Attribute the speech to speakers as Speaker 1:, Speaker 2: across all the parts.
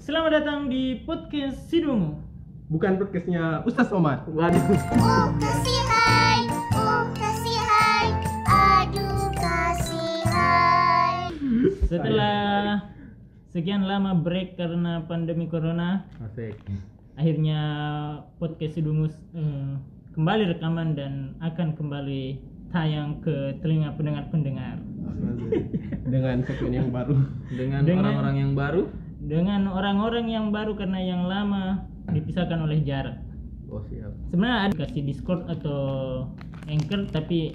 Speaker 1: Selamat datang di podcast Sidungu.
Speaker 2: Bukan podcastnya Ustaz Omar.
Speaker 1: Waduh.
Speaker 3: Uh kasihai, uh kasihai, aduh kasihai.
Speaker 1: Setelah sekian lama break karena pandemi corona,
Speaker 2: Asik.
Speaker 1: akhirnya podcast Sidungu eh, kembali rekaman dan akan kembali tayang ke telinga pendengar-pendengar.
Speaker 2: Dengan segmen yang baru.
Speaker 4: dengan
Speaker 1: Dengan-
Speaker 4: orang-orang yang baru
Speaker 1: Dengan orang-orang yang baru karena yang lama dipisahkan oleh jarak.
Speaker 4: oh siap
Speaker 1: Sebenarnya ada kasih Discord atau Anchor tapi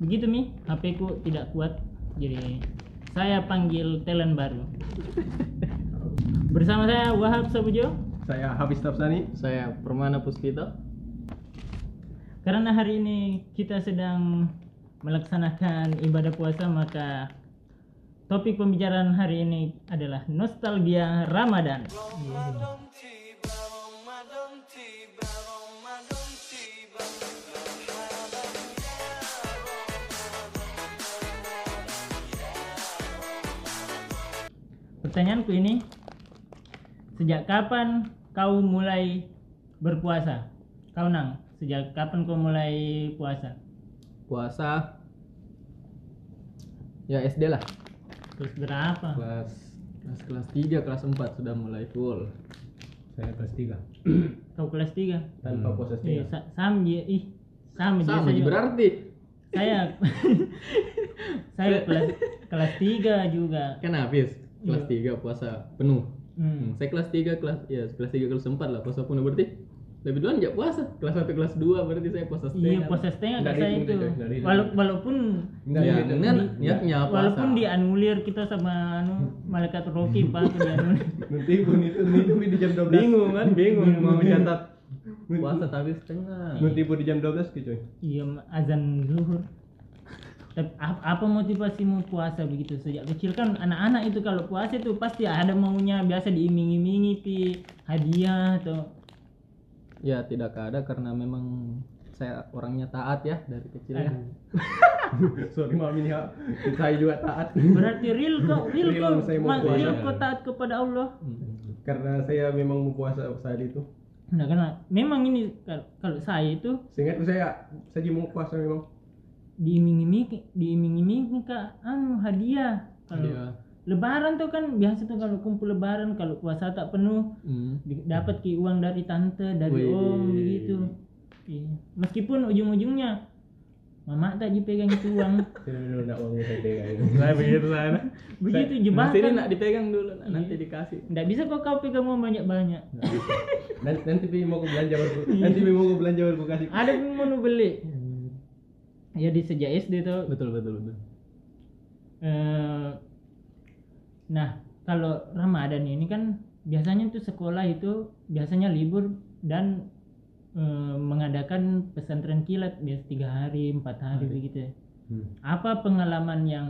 Speaker 1: begitu nih HP ku tidak kuat jadi saya panggil talent baru. Bersama saya Wahab Sabujo.
Speaker 2: Saya Hafiz Tafsani.
Speaker 4: saya Permana Puspito
Speaker 1: Karena hari ini kita sedang melaksanakan ibadah puasa maka topik pembicaraan hari ini adalah nostalgia Ramadan. Pertanyaanku ini, sejak kapan kau mulai berpuasa? Kau nang, sejak kapan kau mulai puasa?
Speaker 4: puasa ya SD lah
Speaker 1: Terus berapa?
Speaker 4: kelas kelas kelas 3 kelas 4 sudah mulai full
Speaker 2: Saya kelas 3.
Speaker 1: Kau kelas 3?
Speaker 2: Tanpa
Speaker 4: Hmm.
Speaker 2: proses
Speaker 1: Iya, sa- sama je- ih, sama, je
Speaker 4: sama
Speaker 1: saya-
Speaker 4: berarti
Speaker 1: Saya saya kelas kelas 3 juga.
Speaker 4: kan habis kelas 3 puasa penuh
Speaker 1: Hmm.
Speaker 4: Hmm, saya kelas 3 kelas ya kelas 3 kelas 4 lah puasa penuh berarti lebih duluan nggak puasa kelas 1 kelas 2 berarti saya puasa setengah
Speaker 1: Iya, puasa setengah
Speaker 2: Nggak
Speaker 1: saya
Speaker 2: dihitung,
Speaker 1: itu.
Speaker 2: Dede, nggak dihitung.
Speaker 1: Wala- walaupun
Speaker 2: Nggak
Speaker 4: ya,
Speaker 2: dihitung.
Speaker 4: kan
Speaker 2: Nggak.
Speaker 4: niatnya puasa
Speaker 1: Iya. walaupun dianulir kita sama anu malaikat Rocky Pak aku dianulir.
Speaker 2: Nanti pun itu nanti pun di jam 12.
Speaker 4: bingung kan bingung mau
Speaker 2: mencatat.
Speaker 4: catat puasa tapi setengah
Speaker 2: Nanti pun di jam 12 gitu. coy.
Speaker 1: Iya, Ma- azan zuhur. Tapi ap- apa motivasimu puasa begitu sejak kecil kan anak-anak itu kalau puasa itu pasti ada maunya biasa diiming-imingi pi hadiah atau
Speaker 4: Ya tidak ada karena memang saya orangnya taat ya dari kecil ya.
Speaker 1: Aduh.
Speaker 2: Sorry maaf ini ya. Saya juga taat.
Speaker 1: berarti real kok real
Speaker 2: Real
Speaker 1: kok
Speaker 2: saya mau
Speaker 1: ma-
Speaker 2: puasa.
Speaker 1: real kok taat kepada Allah
Speaker 4: Mm.
Speaker 2: Karena saya memang mau puasa saat itu.
Speaker 1: nah karena memang ini kal- kalau saya itu
Speaker 2: Seingatku saya saya mau puasa memang.
Speaker 1: diiming-imingi diiming-imingi kak anu hadiah kalau
Speaker 4: Iya.
Speaker 1: lebaran tuh kan biasa tuh kalau kumpul lebaran kalau puasa tak penuh
Speaker 4: Mm.
Speaker 1: Di- dapat ki uang dari tante dari
Speaker 4: Wih.
Speaker 1: om begitu Iya. meskipun ujung-ujungnya mama tak je pegang itu uang
Speaker 2: Saya dulu enggak mau saya tega ini.
Speaker 4: Saya begitu saya.
Speaker 1: begitu
Speaker 4: Nanti ini
Speaker 1: jebakan
Speaker 4: Iya, nak dipegang dulu, nak
Speaker 1: Iya.
Speaker 4: nanti dikasih.
Speaker 1: ndak bisa kok kau pegang uang banyak-banyak
Speaker 2: Nanti Nah, gitu. nanti Pi mau ke belanja baru. ku- Nanti Pi mau ke belanja baru ku kasih.
Speaker 1: ada pun mau nu beli
Speaker 4: Hmm.
Speaker 1: ya di sejak SD tuh
Speaker 4: Betul betul betul.
Speaker 1: Eh, nah, kalau Ramadan ini kan biasanya tuh sekolah itu biasanya libur dan eh, mengadakan pesantren kilat biasa tiga hari, empat hari begitu. ya.
Speaker 2: Hmm.
Speaker 1: Apa pengalaman yang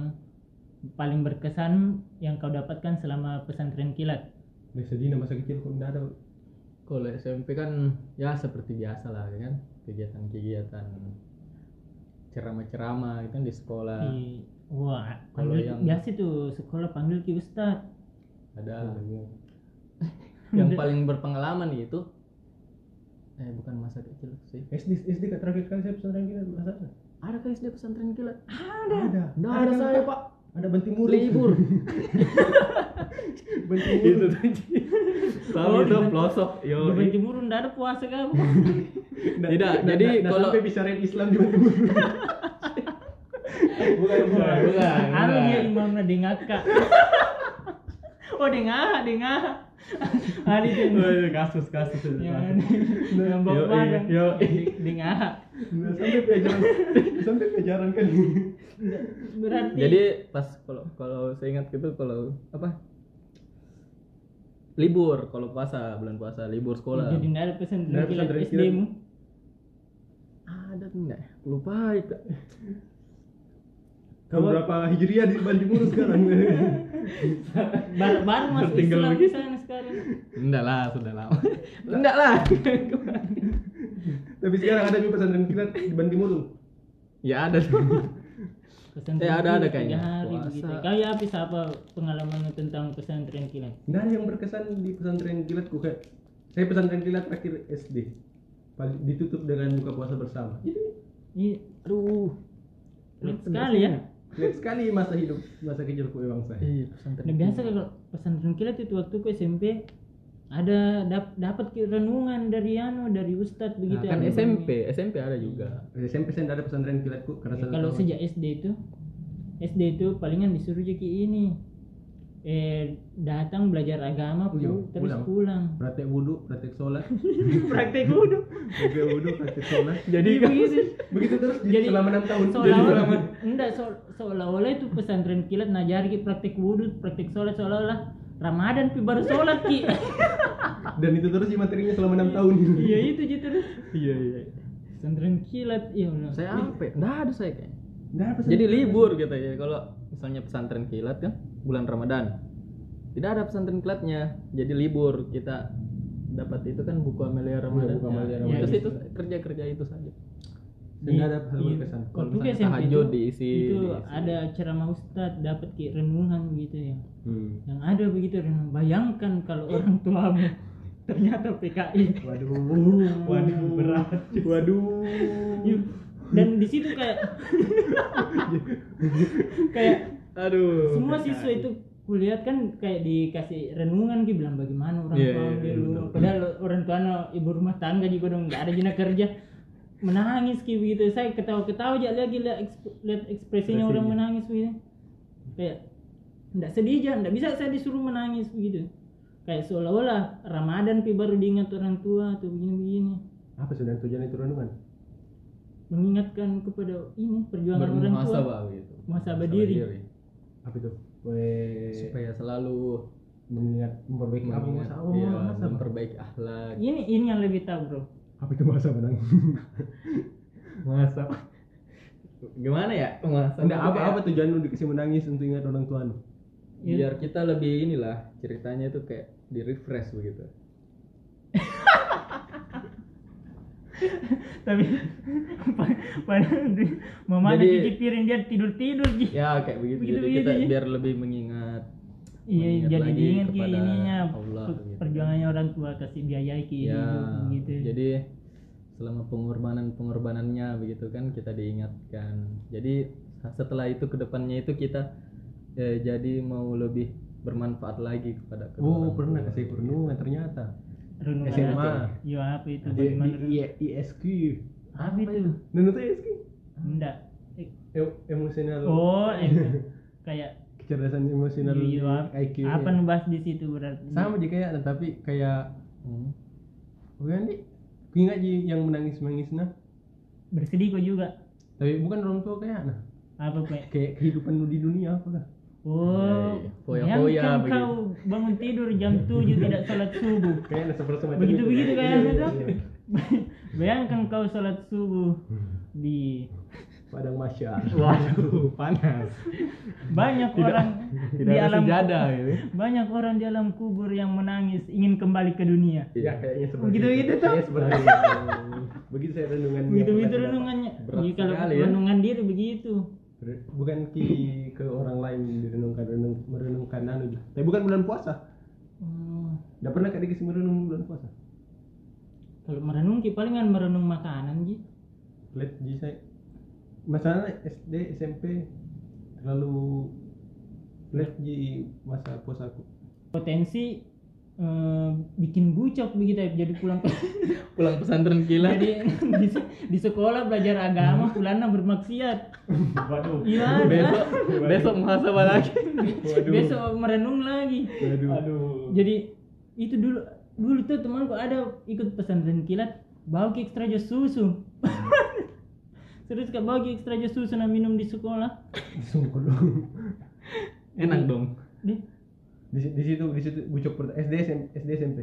Speaker 1: paling berkesan yang kau dapatkan selama pesantren kilat?
Speaker 2: Dari sedih masa kecil kok enggak ada.
Speaker 4: Kalau SMP kan ya seperti biasa lah kan kegiatan-kegiatan ceramah-ceramah itu kan di sekolah
Speaker 1: Di- wah,
Speaker 4: kalau
Speaker 1: panggil-
Speaker 4: yang-
Speaker 1: biasa tuh sekolah panggil ki ustad.
Speaker 2: Nah,
Speaker 4: ada
Speaker 2: iya.
Speaker 4: yang paling berpengalaman itu eh bukan masa kecil sih
Speaker 2: SD SD kat terakhir kali saya pesantren kita masa ada?
Speaker 4: ada kali SD pesantren kilat
Speaker 2: Ada. Ada,
Speaker 4: Nggak ada
Speaker 2: kan,
Speaker 4: saya
Speaker 2: Pak?
Speaker 4: pak
Speaker 2: Ada banting murid.
Speaker 4: libur
Speaker 2: banting murid.
Speaker 4: Tapi itu pelosok. Yo.
Speaker 1: Di Timur ndak ada puasa kamu.
Speaker 2: Nggak-
Speaker 4: Tidak,
Speaker 2: nggak-
Speaker 4: jadi
Speaker 2: nggak
Speaker 4: kalau-
Speaker 2: nah, sampai bicara Islam di Nah, banting murid. bukan, bukan.
Speaker 4: Bukan.
Speaker 1: Anu
Speaker 2: iya.
Speaker 1: dia imamnya dengaka. oh dengah, dengah. Hari itu
Speaker 4: Oh, kasus kasus itu.
Speaker 2: Iya,
Speaker 1: yang yang bawa
Speaker 4: Iya. Yo,
Speaker 1: barang.
Speaker 4: yo.
Speaker 1: Dengah.
Speaker 2: Nggak Nah, sampai pelajaran. nggak sampai pelajaran kan.
Speaker 1: Berarti
Speaker 4: Jadi pas kalau kalau saya ingat gitu kalau apa? Libur kalau puasa bulan puasa libur sekolah.
Speaker 1: jadi ndak ada pesan
Speaker 2: Nggak
Speaker 1: dari
Speaker 2: ada pesan dari
Speaker 1: SD mu.
Speaker 4: Ada enggak? Lupa itu.
Speaker 2: Tahun berapa Hijriah di banting murid sekarang?
Speaker 1: Baru-baru masuk
Speaker 4: Tertinggal
Speaker 1: Islam di
Speaker 4: begitu.
Speaker 1: sana sekarang.
Speaker 4: Enggak lah, sudah lama. enggak lah.
Speaker 2: Tapi sekarang ada juga pesantren kita di banting murid.
Speaker 4: ya ada.
Speaker 1: Pesantren
Speaker 4: Eh, ada-
Speaker 1: tiga
Speaker 4: ada kayaknya.
Speaker 1: Hari
Speaker 4: Puasa.
Speaker 1: begitu. Kayak habis apa pengalamanmu tentang pesan pesantren kilat
Speaker 2: Nggak ada Nah, yang berkesan di pesantren kilatku kan. Saya pesantren kilat terakhir SD. Pagi- Ditutup dengan buka puasa bersama. Itu
Speaker 1: Ih, aduh pelit sekali ya
Speaker 2: lihat sekali masa hidup masa kecilku memang saya.
Speaker 4: Iya, pesantren.
Speaker 1: Nah, biasa kalau pesantren kilat itu waktu ku SMP ada dap- dapat ki- renungan dari Yano dari Ustadz
Speaker 2: Nah,
Speaker 1: begitu
Speaker 4: kan
Speaker 1: ada
Speaker 4: SMP, SMP ada juga.
Speaker 2: SMP saya nggak ada pesantren kilatku karena
Speaker 1: Ya,
Speaker 2: satu
Speaker 1: kalau
Speaker 2: tahun.
Speaker 1: sejak SD itu SD itu palingan disuruh jeki ini eh datang belajar agama
Speaker 2: Iya,
Speaker 1: pu- terus
Speaker 2: pulang.
Speaker 1: pulang,
Speaker 2: praktek wudhu, praktek sholat,
Speaker 1: praktek wudhu
Speaker 2: praktek wudhu, praktek sholat.
Speaker 4: Jadi
Speaker 1: Iya, begitu.
Speaker 2: Begitu terus
Speaker 1: Jadi-
Speaker 2: jadi, selama enam tahun.
Speaker 1: seolah-olah enggak so- seolah-olah itu pesantren kilat najari ki praktek wudhu praktek sholat seolah-olah Ramadan pi baru sholat ki
Speaker 2: dan itu terus sih materinya selama enam tahun.
Speaker 1: iya itu gitu terus
Speaker 4: Iya, iya.
Speaker 1: pesantren kilat iya Allah.
Speaker 4: Saya apa? ya? Nggak ada saya kayaknya.
Speaker 2: Nggak ada pesantren.
Speaker 4: Jadi libur gitu ya. Kalau misalnya pesantren kilat kan bulan Ramadan. Tidak ada pesantren kilatnya. Jadi libur kita dapat itu kan buku Amelia Ramadan.
Speaker 2: buku Amalia
Speaker 4: Ya,
Speaker 1: Ramadan.
Speaker 4: Terus itu kerja-kerja itu saja.
Speaker 2: Dan nggak ada hal berkesan.
Speaker 1: Iya. Kalau
Speaker 4: Kalau misalnya
Speaker 1: misalnya SMP
Speaker 4: tahajud
Speaker 1: itu,
Speaker 4: diisi,
Speaker 1: itu
Speaker 4: diisi.
Speaker 1: ada ceramah ustadz dapat kayak renungan gitu ya.
Speaker 2: Hmm.
Speaker 1: Yang ada begitu renungan. Bayangkan kalau orang tuamu ternyata PKI.
Speaker 2: Waduh, waduh berat. Waduh.
Speaker 1: Yuk. Dan di situ kayak kayak
Speaker 4: Aduh.
Speaker 1: semua siswa itu kulihat kan kayak dikasih renungan gitu bilang bagaimana orang
Speaker 4: Iya,
Speaker 1: tua
Speaker 4: iya, iya,
Speaker 1: dulu
Speaker 4: betul.
Speaker 1: padahal orang tua no, ibu rumah tangga juga dong nggak ada jenak kerja menangis kayak begitu saya ketawa-ketawa aja lagi lihat eksp- lihat ekspresinya orang menangis begitu kayak nggak sedih aja nggak bisa saya disuruh menangis begitu kayak seolah-olah Ramadan pi baru diingat orang tua atau begini-begini
Speaker 2: Apa sebenarnya tujuan itu renungan?
Speaker 1: mengingatkan kepada ini perjuangan orang tua
Speaker 4: bermuhasabah gitu.
Speaker 1: Muhasabah diri.
Speaker 2: Apa itu? Weh,
Speaker 4: Supaya selalu
Speaker 2: mengingat memperbaiki apa
Speaker 4: mengingat,
Speaker 2: masa
Speaker 4: iya,
Speaker 2: Allah masa apa?
Speaker 4: memperbaiki akhlak.
Speaker 1: ini ini yang lebih tahu bro
Speaker 2: Apa itu masa benang?
Speaker 4: Muhasabah. Gimana ya? Muhasabah.
Speaker 2: Enggak apa
Speaker 4: Kayak- ya.
Speaker 2: apa tujuan lu dikasih menangis untuk ingat orang tua lu.
Speaker 1: Iya.
Speaker 4: biar kita lebih inilah ceritanya itu kayak di refresh begitu
Speaker 1: tapi padahal dia- mama ada
Speaker 4: Jadi-
Speaker 1: cuci piring dia tidur tidur gitu
Speaker 4: ya kayak begitu,
Speaker 1: Begitu,
Speaker 4: jadi
Speaker 1: begitu,
Speaker 4: kita
Speaker 1: ya.
Speaker 4: biar lebih mengingat
Speaker 1: iya
Speaker 4: mengingat
Speaker 1: jadi
Speaker 4: lagi
Speaker 1: diingat ki
Speaker 4: kepada
Speaker 1: ininya
Speaker 4: Allah,
Speaker 1: per-
Speaker 4: gitu.
Speaker 1: perjuangannya orang tua kasih biaya ki
Speaker 4: ya
Speaker 1: hidup, gitu
Speaker 4: jadi selama pengorbanan pengorbanannya begitu kan kita diingatkan jadi setelah itu kedepannya itu kita eh, jadi mau lebih bermanfaat lagi kepada kedua
Speaker 2: Oh,
Speaker 4: orang
Speaker 2: pernah
Speaker 4: tua.
Speaker 2: kasih renungan ternyata.
Speaker 1: renungan
Speaker 2: SMA.
Speaker 1: apa? Yo, Iya, apa itu
Speaker 2: Di,
Speaker 1: bagaimana
Speaker 2: di I- ISQ.
Speaker 1: apa itu
Speaker 2: Dan itu ISQ.
Speaker 1: enggak Eh,
Speaker 2: Em- Emosional.
Speaker 1: oh
Speaker 4: Iya.
Speaker 1: itu kayak
Speaker 2: Kecerdasan emosional
Speaker 1: yo,
Speaker 2: IQ.
Speaker 4: Iya.
Speaker 2: -nya.
Speaker 1: apa ngebahas di situ berarti
Speaker 2: Sama aja kayak tapi kayak
Speaker 4: Hmm.
Speaker 2: bukan nih. Ingat ji yang menangis-menangis nah.
Speaker 1: bersedih kok juga
Speaker 2: Tapi bukan orang tua kayak nah.
Speaker 1: apa kayak
Speaker 2: Kayak kehidupan lu di dunia apalah.
Speaker 1: oh
Speaker 4: iya. Foya-foya
Speaker 1: bayangkan
Speaker 4: begitu.
Speaker 1: kau bangun tidur jam 7 tidak sholat subuh
Speaker 2: Kayaknya seperti macam
Speaker 1: begitu
Speaker 2: itu,
Speaker 1: begitu
Speaker 2: ya.
Speaker 1: kayaknya
Speaker 2: Iya,
Speaker 1: tuh
Speaker 2: iya, iya.
Speaker 1: kan, bayangkan kau sholat subuh
Speaker 4: Hmm.
Speaker 1: di
Speaker 2: Padang Masya.
Speaker 4: waduh panas
Speaker 1: banyak orang
Speaker 4: tidak
Speaker 1: di
Speaker 4: ada
Speaker 1: alam
Speaker 4: sejada gitu
Speaker 1: banyak orang di alam kubur yang menangis ingin kembali ke dunia
Speaker 4: Iya,
Speaker 2: Ya kayaknya seperti
Speaker 1: Begitu
Speaker 2: itu.
Speaker 1: gitu tuh.
Speaker 2: Kayaknya seperti itu. Begitu saya renungan.
Speaker 1: begitu begitu renungannya
Speaker 4: Berat
Speaker 1: Iya, kalau
Speaker 4: sekali ya.
Speaker 1: renungan diri begitu
Speaker 2: Bukan ki ke orang lain direnungkan renung merenungkan anu. Ji. Tapi bukan bulan puasa.
Speaker 1: Oh,
Speaker 2: Enggak pernah kayak dikasih merenung bulan puasa.
Speaker 1: kalau merenung ki palingan merenung makanan ji
Speaker 2: Lihat ji saya. Masalahnya SD SMP terlalu lihat ji masa puasaku.
Speaker 1: potensi eh, bikin bucok begitu ya jadi pulang ke-
Speaker 4: pulang pesantren kilat
Speaker 1: jadi di, di sekolah belajar agama
Speaker 4: Hmm.
Speaker 1: pulangnya bermaksiat
Speaker 2: Waduh.
Speaker 1: iya ada.
Speaker 4: besok besok muhasabah lagi
Speaker 2: Waduh.
Speaker 1: besok merenung lagi
Speaker 2: Waduh.
Speaker 1: jadi itu dulu dulu tuh temanku ada ikut pesantren kilat bawa ki ekstra jus susu terus kak bawa ki ekstra jus susu nah minum di sekolah
Speaker 2: Sungguh dong.
Speaker 4: enak dong
Speaker 1: deh
Speaker 2: Di, di situ di situ bucok pertama SD SMP, SD SMP.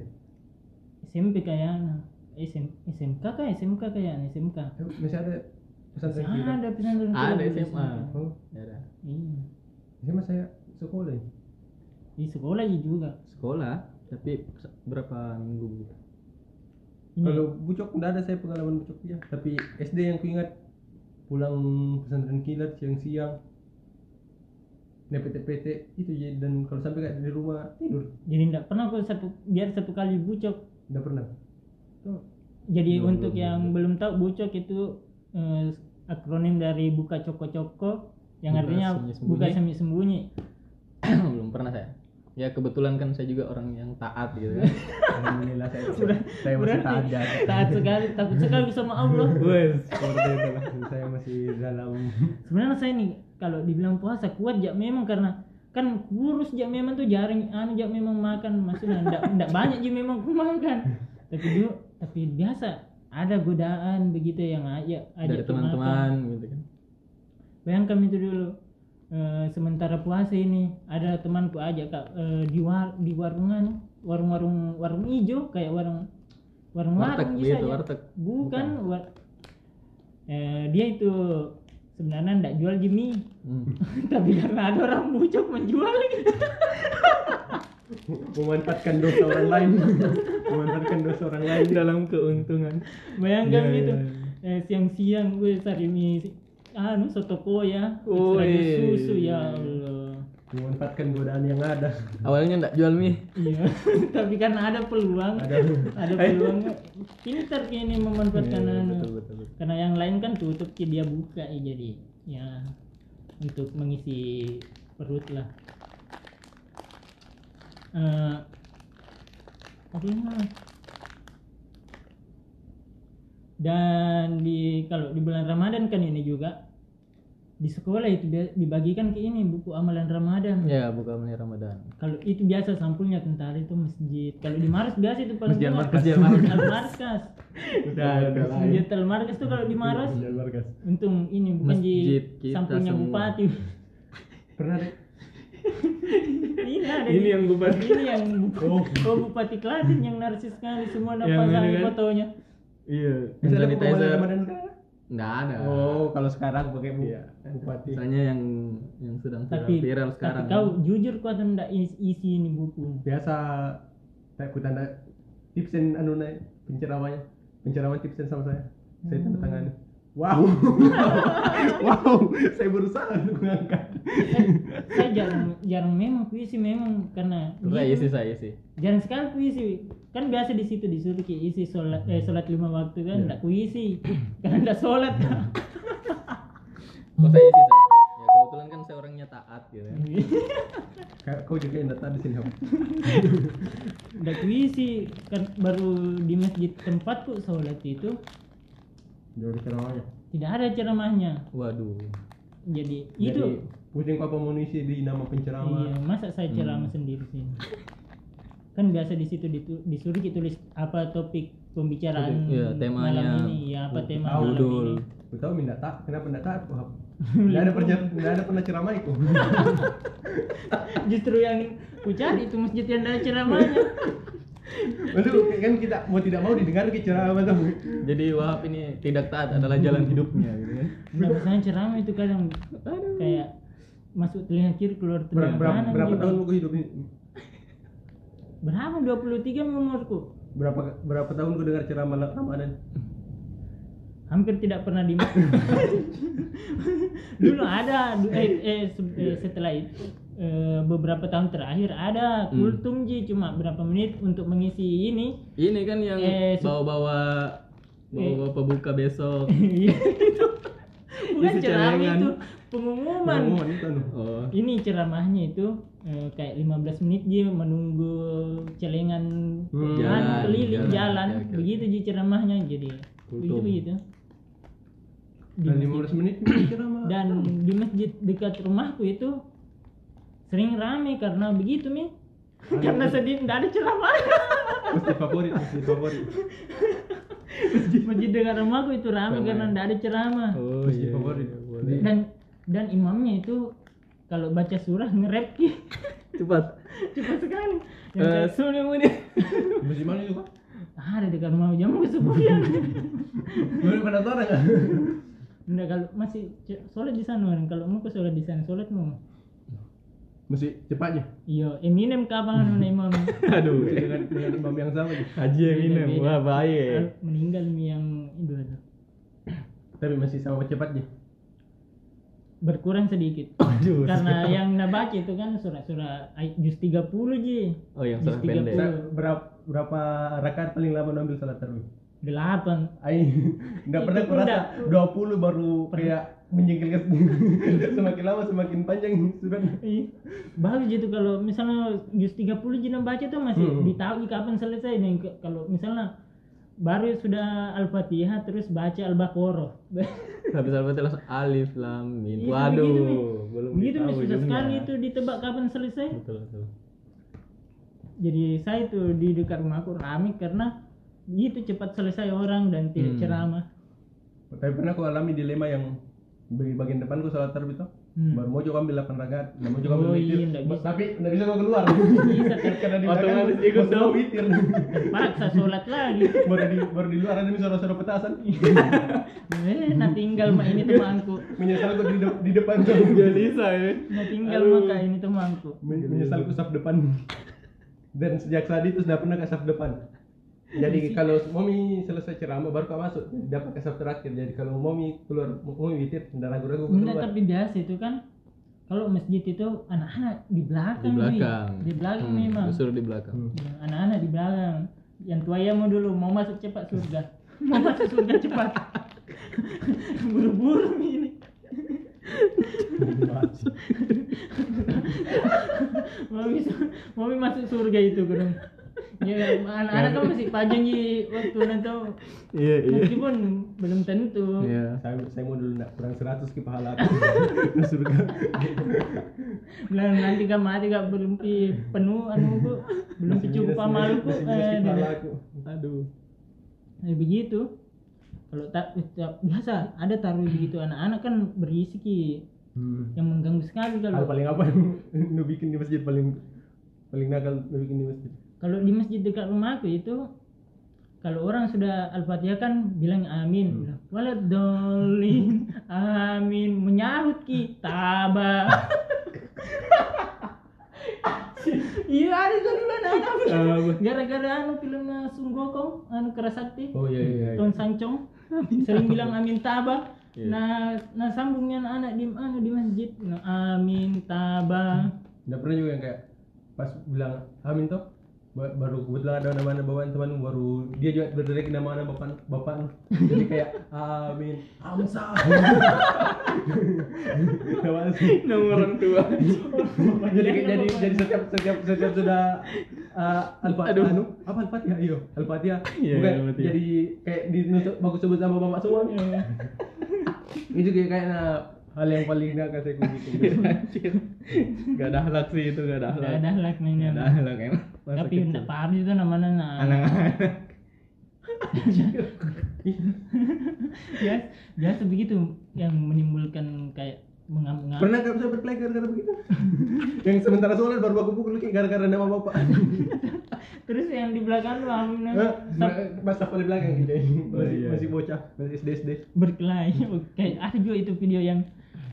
Speaker 1: SMP kayaknya SM, SMK kah SMK kayaknya SMK
Speaker 2: Eh, Masih ada pesantren kita.
Speaker 1: ada pesantren kilat
Speaker 4: ada
Speaker 1: dulu di
Speaker 4: SMA
Speaker 1: SMK.
Speaker 2: Oh,
Speaker 4: Ya ada.
Speaker 1: iya
Speaker 2: SMA saya sekolah. ya.
Speaker 1: di sekolah aja juga
Speaker 4: sekolah tapi berapa minggu
Speaker 1: Ini
Speaker 2: Kalau bucok nggak ada saya pengalaman bucok dia. Tapi SD yang kuingat pulang pesantren kilat siang-siang Nah PT-PT itu jadi dan kalau sampai nggak di rumah tidur
Speaker 1: jadi tidak pernah aku satu biar satu kali bucok
Speaker 2: nggak pernah.
Speaker 1: Tuh. jadi
Speaker 4: Belum,
Speaker 1: untuk
Speaker 4: belum,
Speaker 1: yang belum tahu bucok itu eh, akronim dari buka coko-coko yang
Speaker 4: Buka
Speaker 1: artinya
Speaker 4: sembunyi-sembunyi.
Speaker 1: buka sembunyi-sembunyi
Speaker 4: belum pernah saya ya kebetulan kan saya juga orang yang taat gitu kan
Speaker 2: Alhamdulillah saya, saya, saya masih ya.
Speaker 1: Berarti
Speaker 2: ada.
Speaker 1: taat sekali takut sekali sama Allah
Speaker 4: wes
Speaker 2: Seperti itu lah. saya masih dalam
Speaker 1: sebenarnya saya nih kalau dibilang puasa kuat ya memang karena kan kurus ya memang tuh jarang anu ya memang makan maksudnya ndak ndak banyak ya memang aku makan tapi dulu tapi biasa ada godaan begitu yang ajak
Speaker 4: dari
Speaker 1: ajak ke makan.
Speaker 4: teman-teman gitu kan
Speaker 1: bayangkan itu dulu eh, sementara puasa ini ada temanku aja kak eh, di war di warungan warung-warung warung hijau kayak warung
Speaker 4: warteg
Speaker 1: warung-warung
Speaker 4: gitu
Speaker 1: aja.
Speaker 4: warteg
Speaker 1: bukan, war- kan eh, dia itu sebenarnya ndak jual jemi
Speaker 4: Hmm.
Speaker 1: tapi karena ada orang bucok menjual
Speaker 2: memanfaatkan dosa orang lain. memanfaatkan dosa orang lain.
Speaker 4: dalam keuntungan
Speaker 1: bayangkan
Speaker 2: Iya,
Speaker 1: gitu
Speaker 2: iya,
Speaker 1: Eh, siang-siang gue sarimi anu soto koya
Speaker 4: Woi.
Speaker 1: ekstra susu ya Allah
Speaker 2: Memanfaatkan godaan yang ada.
Speaker 4: awalnya ndak jual mie
Speaker 1: iya tapi karena ada peluang
Speaker 2: Ada.
Speaker 1: ada peluang pintar kini memanfaatkan
Speaker 4: Iya,
Speaker 1: anu
Speaker 4: betul betul betul.
Speaker 1: karena yang lain kan tutup ki, dia buka ya, jadi ya untuk mengisi perut lah eh apa ini lah? dan di kalau di bulan Ramadan kan ini juga di sekolah itu dia- dibagikan ke ini buku amalan Ramadan
Speaker 4: ya buka mulai ramadan
Speaker 1: kalau itu biasa sampulnya tentara itu masjid kalau di Maros biasa itu paling
Speaker 2: Masjid Ya,
Speaker 1: kuat.
Speaker 2: Markas.
Speaker 1: Al Markas
Speaker 2: Udah, udah
Speaker 1: masjid Al Markas tuh kalau di Maros
Speaker 2: Jangan markas.
Speaker 1: Untung ini bukan
Speaker 4: Masjid
Speaker 1: di
Speaker 4: kita
Speaker 1: sampingnya
Speaker 4: semua.
Speaker 1: bupati.
Speaker 2: Pernah deh.
Speaker 1: ini ada
Speaker 4: Ini
Speaker 1: di-
Speaker 4: yang bupati. gitu.
Speaker 1: Ini yang bupati. Oh, bupati Klaten yang narsis sekali semua
Speaker 4: Yang
Speaker 1: nampak
Speaker 4: ini
Speaker 1: kami
Speaker 4: kan?
Speaker 1: fotonya.
Speaker 4: iya
Speaker 2: Bisa ada
Speaker 4: sanitizer
Speaker 2: perubahan Ramadan sekarang?
Speaker 4: nggak ada
Speaker 2: Oh, kalau sekarang pakai bu
Speaker 4: Iya.
Speaker 2: bupati.
Speaker 4: misalnya yang yang sedang
Speaker 1: Tapi
Speaker 4: viral sekarang
Speaker 1: Tapi kau jujur kau atau enggak is- isi ini buku.
Speaker 2: Biasa tak ku tanda tips and anu naik penceramanya. Pencerawan tips and sama saya. Saya tanda tangan. Wow. wow, saya berusaha untuk mengangkat.
Speaker 1: Saya jarang jarang memang puisi memang karena
Speaker 4: Tuh, saya isi saya isi
Speaker 1: jarang sekali puisi. Kan biasa di situ disuruh ki isi sholat eh sholat lima waktu
Speaker 4: Iya.
Speaker 1: kan enggak kuisi. Karena enggak sholat.
Speaker 4: kok saya isi saya ya kebetulan kan saya orangnya taat gitu kan
Speaker 2: Kayak kau juga yang datang di sini, Om.
Speaker 1: Enggak kuisi kan baru di masjid tempatku sholat itu
Speaker 2: Jauh di ceramanya.
Speaker 1: tidak ada ceramahnya.
Speaker 4: waduh
Speaker 1: jadi itu
Speaker 2: Jadi, pusing kau pemunisi di nama penceramah.
Speaker 1: iya masa saya ceramah sendiri sih kan biasa di situ ditu- disuruh ditulis apa topik pembicaraan
Speaker 4: Iya, temanya.
Speaker 1: malam ini ya apa tema malam
Speaker 4: Judul.
Speaker 1: ini
Speaker 2: Kau tahu minta tak? Kenapa minta tak? Wah. Nggak ada pernah nggak ada pernah ceramah itu.
Speaker 1: justru yang ku cari itu masjid yang ada ceramahnya
Speaker 2: Waduh, kan kita mau tidak mau didengar ke ceramah tuh.
Speaker 4: jadi wahab ini tidak taat adalah jalan hidupnya gitu kan
Speaker 1: nah, misalnya ceramah itu kadang kayak masuk telinga kiri keluar
Speaker 2: Berapa,
Speaker 1: telinga
Speaker 2: berapa,
Speaker 1: kanan
Speaker 2: berapa
Speaker 1: gitu.
Speaker 2: tahun kau hidup ini?
Speaker 1: berapa 23 umurku
Speaker 2: Berapa berapa tahun kau dengar ceramah la- Ramadan?
Speaker 1: hampir tidak pernah di dulu ada du- eh, eh, se- eh, setelah itu eh, beberapa tahun terakhir ada
Speaker 4: Hmm.
Speaker 1: kultum ji cuma berapa menit untuk mengisi ini
Speaker 4: ini kan yang
Speaker 1: Eh, su-
Speaker 4: bawa-bawa bawa-bawa pebuka besok
Speaker 1: Iya, itu bukan
Speaker 4: Isi
Speaker 1: ceramah
Speaker 4: celengan.
Speaker 1: itu pengumuman
Speaker 2: Pengumuman itu anu.
Speaker 4: oh
Speaker 1: ini ceramahnya itu eh, kayak 15 menit dia menunggu celengan
Speaker 2: Hmm.
Speaker 1: jalan
Speaker 4: Jalan,
Speaker 1: keliling
Speaker 4: jalan. Ya,
Speaker 1: jalan,
Speaker 4: Oke, oke,
Speaker 1: begitu ji ceramahnya jadi begitu
Speaker 4: Kultum.
Speaker 1: begitu
Speaker 2: Dan 15 menit ini ceramah.
Speaker 1: dan di masjid dekat rumahku itu sering rame karena begitu mi karena sedih nggak ada ceramah
Speaker 2: Masjid favorit, masjid favorit.
Speaker 1: masjid dekat rumahku itu rame
Speaker 4: Ramai.
Speaker 1: karena nggak ada ceramah
Speaker 4: oh
Speaker 2: Masjid
Speaker 4: iya,
Speaker 2: favorit.
Speaker 4: iya, boleh.
Speaker 1: dan dan imamnya itu kalau baca surah nge-rap ki
Speaker 4: cepat
Speaker 1: cepat sekali Yang
Speaker 4: Eh,
Speaker 1: kayak,
Speaker 4: sini muni
Speaker 2: Masjid mana itu, Pak?
Speaker 1: ah, ada dekat rumah jamu kesepian
Speaker 2: Baru penasaran enggak?
Speaker 1: Nggak, kalau masih ce- sholat di sana orang kalau mau ke sholat di sana sholat mau
Speaker 2: Masjid cepatnya.
Speaker 1: iya Eminem kapan nuna imam
Speaker 4: aduh
Speaker 2: Dengan dengan imam yang sama nih.
Speaker 4: Haji Eminem
Speaker 1: Beda-beda.
Speaker 4: wah bahaya
Speaker 1: meninggal mi yang itu
Speaker 2: Tapi masih sama cepatnya.
Speaker 1: berkurang sedikit
Speaker 4: Aduh.
Speaker 1: karena yang nabak itu kan surat-surat ay- juz 30 ji
Speaker 4: Oh, yang
Speaker 1: juz
Speaker 4: surah pendek.
Speaker 2: berapa Nah, berapa rakaat paling lama lu ambil salat tarawih?
Speaker 1: 8
Speaker 2: Aing enggak
Speaker 1: Itu
Speaker 2: pernah
Speaker 1: pun
Speaker 2: kurasa 20 baru kayak menjengkelkan semakin lama semakin panjang surat.
Speaker 1: Ih, bagus gitu kalau misalnya juz 30 ji baca tuh masih
Speaker 2: Hmm.
Speaker 1: ditahu kapan selesai nih Ke- kalau misalnya baru sudah al-fatihah terus baca al-baqarah
Speaker 4: Habis al-fatihah langsung alif lam mim.
Speaker 1: Iya,
Speaker 4: Waduh,
Speaker 1: begitu,
Speaker 4: belum
Speaker 1: begitu
Speaker 4: ditahu
Speaker 1: nih susah
Speaker 4: ujungnya.
Speaker 1: sekali itu ditebak kapan selesai
Speaker 4: Betul betul.
Speaker 1: jadi saya tuh di dekat rumahku rame karena gitu cepat selesai orang dan tidak
Speaker 4: Hmm.
Speaker 1: ceramah
Speaker 2: Tapi pernah aku alami dilema yang di bagian depan gua salat tarawih tuh.
Speaker 1: Hmm.
Speaker 2: Baru mau coba ambil 8 rakaat, enggak mau coba
Speaker 1: Oh,
Speaker 2: ambil
Speaker 1: iya,
Speaker 2: witir.
Speaker 1: nggak bisa. Iya,
Speaker 2: Tapi enggak bisa gua keluar.
Speaker 1: Bisa,
Speaker 2: Karena di
Speaker 4: Otomatis
Speaker 2: belakang gua-
Speaker 4: ikut
Speaker 2: gua semua
Speaker 4: dong.
Speaker 2: witir.
Speaker 1: terpaksa sholat lagi
Speaker 2: baru di baru di luar ada suara-suara petasan.
Speaker 1: eh nah tinggal mak ini temanku
Speaker 2: Menyesal gua di, de- di depan tuh.
Speaker 4: Galisa ya.
Speaker 1: nah tinggal
Speaker 4: Aduh.
Speaker 1: maka ini temanku
Speaker 2: Men- menyesal ku saf depan dan sejak saat itu sudah pernah ke saf depan
Speaker 1: Iya
Speaker 2: jadi kalau momi selesai ceramah baru kau masuk dapat ke saf terakhir jadi kalau momi keluar momi witir tidak ragu-ragu aku
Speaker 1: Enggak
Speaker 2: keluar
Speaker 1: tapi biasa itu kan kalau masjid itu anak-anak di belakang
Speaker 4: Di
Speaker 1: Wi.
Speaker 4: belakang.
Speaker 1: di belakang
Speaker 4: Hmm,
Speaker 1: memang
Speaker 4: Disuruh di belakang.
Speaker 2: Hmm.
Speaker 1: Ya, anak-anak di belakang yang tua ya mau dulu mau masuk cepat surga mau masuk surga cepat buru-buru ini mau bisa mau masuk surga itu kurang ya anak-anak kan masih panjang Ji, waktu nanti
Speaker 4: Iya
Speaker 1: meskipun belum tentu
Speaker 4: Iya.
Speaker 2: saya, saya mau dulu nak kurang 100 ke pahala aku Di surga
Speaker 1: Belum nanti gak mati gak belum pi- penuh anu ku belum
Speaker 2: Masih
Speaker 1: cukup
Speaker 2: minus-
Speaker 1: amalku
Speaker 2: masih minus ke
Speaker 1: eh,
Speaker 2: pahala
Speaker 1: dan-
Speaker 2: aku
Speaker 4: Aduh.
Speaker 1: eh, begitu kalau tak eh, tak- biasa ada taruh begitu anak-anak kan berisik Ki.
Speaker 2: hmm.
Speaker 1: yang mengganggu sekali
Speaker 2: hal
Speaker 1: kalau
Speaker 2: paling apa yang lu bikin di masjid paling paling nakal lu bikin di masjid
Speaker 1: kalau di masjid dekat rumahku itu kalau orang sudah al-fatihah kan bilang
Speaker 2: Hmm.
Speaker 1: amin bilang walad dolin amin menyahut kita bah iya ada kan bulan anak
Speaker 2: Nah,
Speaker 1: gara-gara anu filmnya Sunggokong anu kerasakti
Speaker 2: oh iya iya, iya.
Speaker 1: Tong Sancong sering bilang amin taba
Speaker 4: Iya.
Speaker 1: nah nah sambungnya anak di anu di masjid nah, amin taba
Speaker 2: Nggak pernah juga yang kayak pas bilang amin toh ba- baru kebetulan ada nama anak bawaan teman baru dia juga berteriak nama anak bapak bapak jadi kayak amin amsa Apaan sih?
Speaker 4: Nama orang tua.
Speaker 2: jadi kayak- jadi jadi setiap setiap setiap sudah uh, alfa
Speaker 4: Aduh.
Speaker 2: anu apa alfatihah iyo alfatihah
Speaker 4: Iya,
Speaker 2: bukan
Speaker 4: iya, Al-Fatihah. Iya,
Speaker 2: jadi kayak dinutup bagus sebut sama bapak semua itu kayak kayak nah, hal yang paling nakal saya bikin
Speaker 4: Gak ada halak sih itu gak ada halak.
Speaker 1: Nggak ada lah
Speaker 4: Nggak
Speaker 1: mainnya
Speaker 4: ada halak emang. Masa
Speaker 1: tapi
Speaker 4: kecil.
Speaker 1: enggak paham itu namanya nah
Speaker 4: anak-anak.
Speaker 1: biasa biasa begitu Ya, yang menimbulkan kayak mengamuk-ngamuk
Speaker 2: Pernah gak bisa berkelahi gara-gara begitu? yang sementara sholat baru aku pukul kayak gara-gara nama bapak.
Speaker 1: terus yang di belakang lu amin
Speaker 2: Eh, Mas apa di belakang gitu. Masih,
Speaker 4: iya.
Speaker 2: masih bocah, masih SD SD.
Speaker 1: berkelahi kayak ada juga itu video yang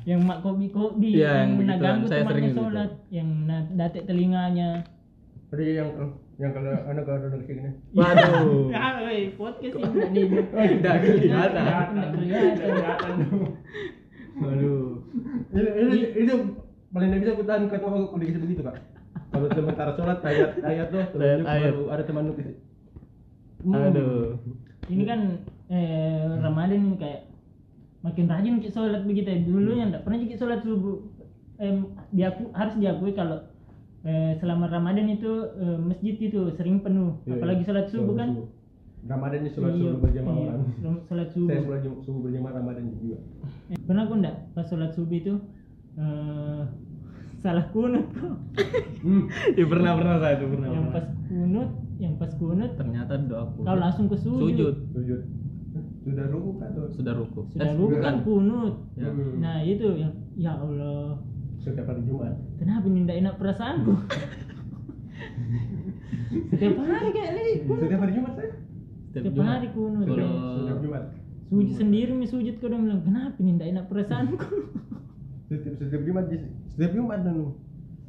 Speaker 1: yang mak kobi kobi
Speaker 4: Iya, yang
Speaker 1: yang
Speaker 4: begituan.
Speaker 1: menaganggu
Speaker 4: Saya sering
Speaker 1: temannya
Speaker 4: gitu.
Speaker 1: sholat yang na- datek telinganya
Speaker 2: Ada yang yang kalau anak kalau anak kayak gini.
Speaker 4: Waduh.
Speaker 1: ya woi podcast ini nggak nih
Speaker 2: Oh, iya.
Speaker 4: Tidak kelihatan.
Speaker 1: Nggak kelihatan.
Speaker 4: Waduh.
Speaker 2: Itu, itu, itu paling tidak bisa aku tahan kata aku kalau dikasih begitu kak. Kalau sementara sholat ayat ayat tuh,
Speaker 4: Ayat,
Speaker 2: terus
Speaker 4: ayat.
Speaker 2: baru ada teman lu gitu.
Speaker 4: Aduh.
Speaker 1: ini kan eh, Ramadan ini kayak makin rajin kita sholat begitu ya. dulu yang tidak pernah kita sholat subuh eh, diaku, harus diakui kalau eh, selama Ramadan itu eh, masjid itu sering penuh
Speaker 2: Iya,
Speaker 1: apalagi
Speaker 2: iya.
Speaker 1: sholat subuh kan
Speaker 2: Ramadan ini sholat
Speaker 1: Iya,
Speaker 2: subuh berjamaah
Speaker 1: iya,
Speaker 2: orang.
Speaker 1: sholat
Speaker 2: Saya
Speaker 1: subuh
Speaker 2: sholat subuh berjamaah Ramadan juga.
Speaker 1: Eh, pernah aku enggak pas sholat subuh itu eh, salah kunut kok
Speaker 2: Hmm.
Speaker 4: Ya pernah pernah saya itu pernah.
Speaker 1: yang
Speaker 4: pernah.
Speaker 1: pas kunut yang pas kunut
Speaker 4: Ternyata doa aku.
Speaker 1: kau langsung ke sujud,
Speaker 4: sujud
Speaker 2: Sujud. Sudah ruku kan tuh.
Speaker 4: sudah ruku.
Speaker 1: sudah
Speaker 4: Eh,
Speaker 1: bukan kunut
Speaker 4: Ya.
Speaker 2: Hmm.
Speaker 1: nah itu yang ya Allah
Speaker 2: setiap hari Jumat.
Speaker 1: kenapa ini tidak enak perasaanku setiap hari kayak ini kunut.
Speaker 2: Setiap hari Jumat saya. Iya,
Speaker 1: setiap
Speaker 4: Jumat.
Speaker 1: hari kunut
Speaker 4: Kalau-
Speaker 2: Setiap Jumat.
Speaker 1: sujud sendiri mi sujud kau udah bilang kenapa ini tidak enak perasaanku
Speaker 2: Setiap setiap Jumat di- setiap Jumat nanu.